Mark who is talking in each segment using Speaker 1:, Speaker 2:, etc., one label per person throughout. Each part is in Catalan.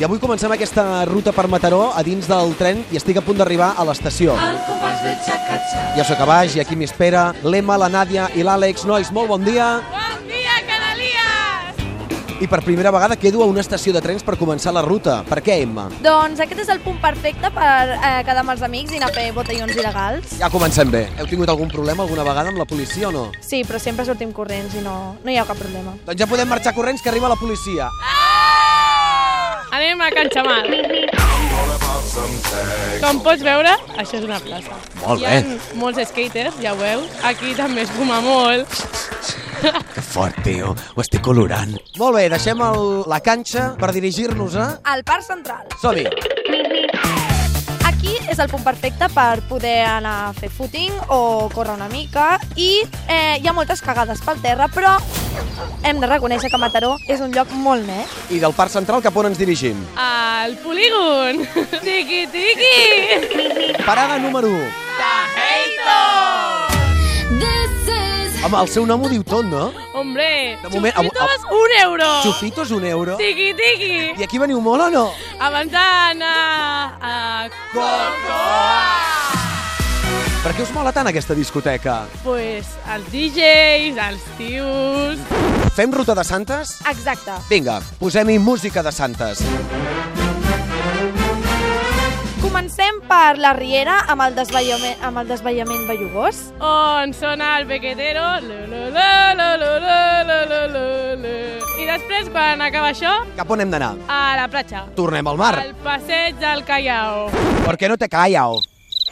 Speaker 1: I avui comencem aquesta ruta per Mataró a dins del tren i estic a punt d'arribar a l'estació. Ja sóc a baix i aquí m'espera l'Emma, la Nàdia i l'Àlex. Nois, molt bon dia.
Speaker 2: Bon dia, Canalies!
Speaker 1: I per primera vegada quedo a una estació de trens per començar la ruta. Per què, Emma?
Speaker 2: Doncs aquest és el punt perfecte per eh, quedar amb els amics i anar a fer botellons il·legals.
Speaker 1: Ja comencem bé. Heu tingut algun problema alguna vegada amb la policia o no?
Speaker 2: Sí, però sempre sortim corrents i no, no hi ha cap problema.
Speaker 1: Doncs ja podem marxar corrents que arriba la policia.
Speaker 3: Anem a Can Xamal. Com pots veure, això és una plaça.
Speaker 1: Molt
Speaker 3: Hi ha molts skaters, ja ho veus. Aquí també es fuma molt.
Speaker 1: Que fort, tio. Ho estic colorant. Molt bé, deixem el, la canxa per dirigir-nos a...
Speaker 2: Al Parc Central.
Speaker 1: Som-hi.
Speaker 2: Aquí és el punt perfecte per poder anar a fer footing o córrer una mica i eh, hi ha moltes cagades pel terra, però hem de reconèixer que Mataró és un lloc molt net.
Speaker 1: I del Parc Central cap on ens dirigim?
Speaker 3: Al polígon. Tiqui, tiqui.
Speaker 1: Parada número 1. Tajeito! Home, el seu nom ho diu tot, no?
Speaker 3: Hombre,
Speaker 1: De moment, avu-
Speaker 3: xupitos, un euro.
Speaker 1: Xufitos, un euro.
Speaker 3: Tiqui, tiqui.
Speaker 1: I aquí veniu molt o no?
Speaker 3: Avançant a... a...
Speaker 1: Per què us mola tant aquesta discoteca?
Speaker 3: Pues, els DJs, els tios...
Speaker 1: Fem ruta de santes?
Speaker 2: Exacte.
Speaker 1: Vinga, posem-hi música de santes.
Speaker 2: Comencem per la Riera amb el desvellament, amb el desvellament bellugós.
Speaker 3: on sona el bequetero. Lo, lo, lo, lo, lo, lo, lo, lo, lo, lo. I després, quan acaba això,
Speaker 1: Cap on hem d'anar?
Speaker 3: a la platja.
Speaker 1: Tornem al mar.
Speaker 3: Al passeig del Callao.
Speaker 1: Per què no te callao?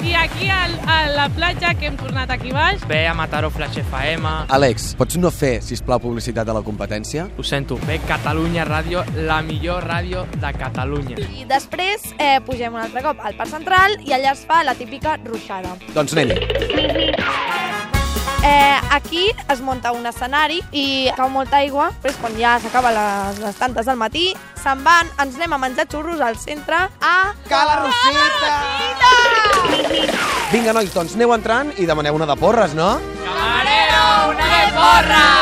Speaker 3: I aquí al, a la platja que hem tornat aquí baix.
Speaker 4: Ve a Mataró Flash FM.
Speaker 1: Alex, pots no fer, si plau publicitat de la competència?
Speaker 4: Ho sento, ve Catalunya Ràdio, la millor ràdio de Catalunya.
Speaker 2: I després eh, pugem un altre cop al Parc Central i allà es fa la típica ruixada.
Speaker 1: Doncs anem-hi.
Speaker 2: Eh, aquí es munta un escenari i cau molta aigua, després quan ja s'acaba les, les tantes del matí, se'n van, ens anem a menjar xurros al centre a...
Speaker 1: Cala Rosita! Vinga, nois, doncs aneu entrant i demaneu una de porres, no?
Speaker 3: Camarero, una de porra!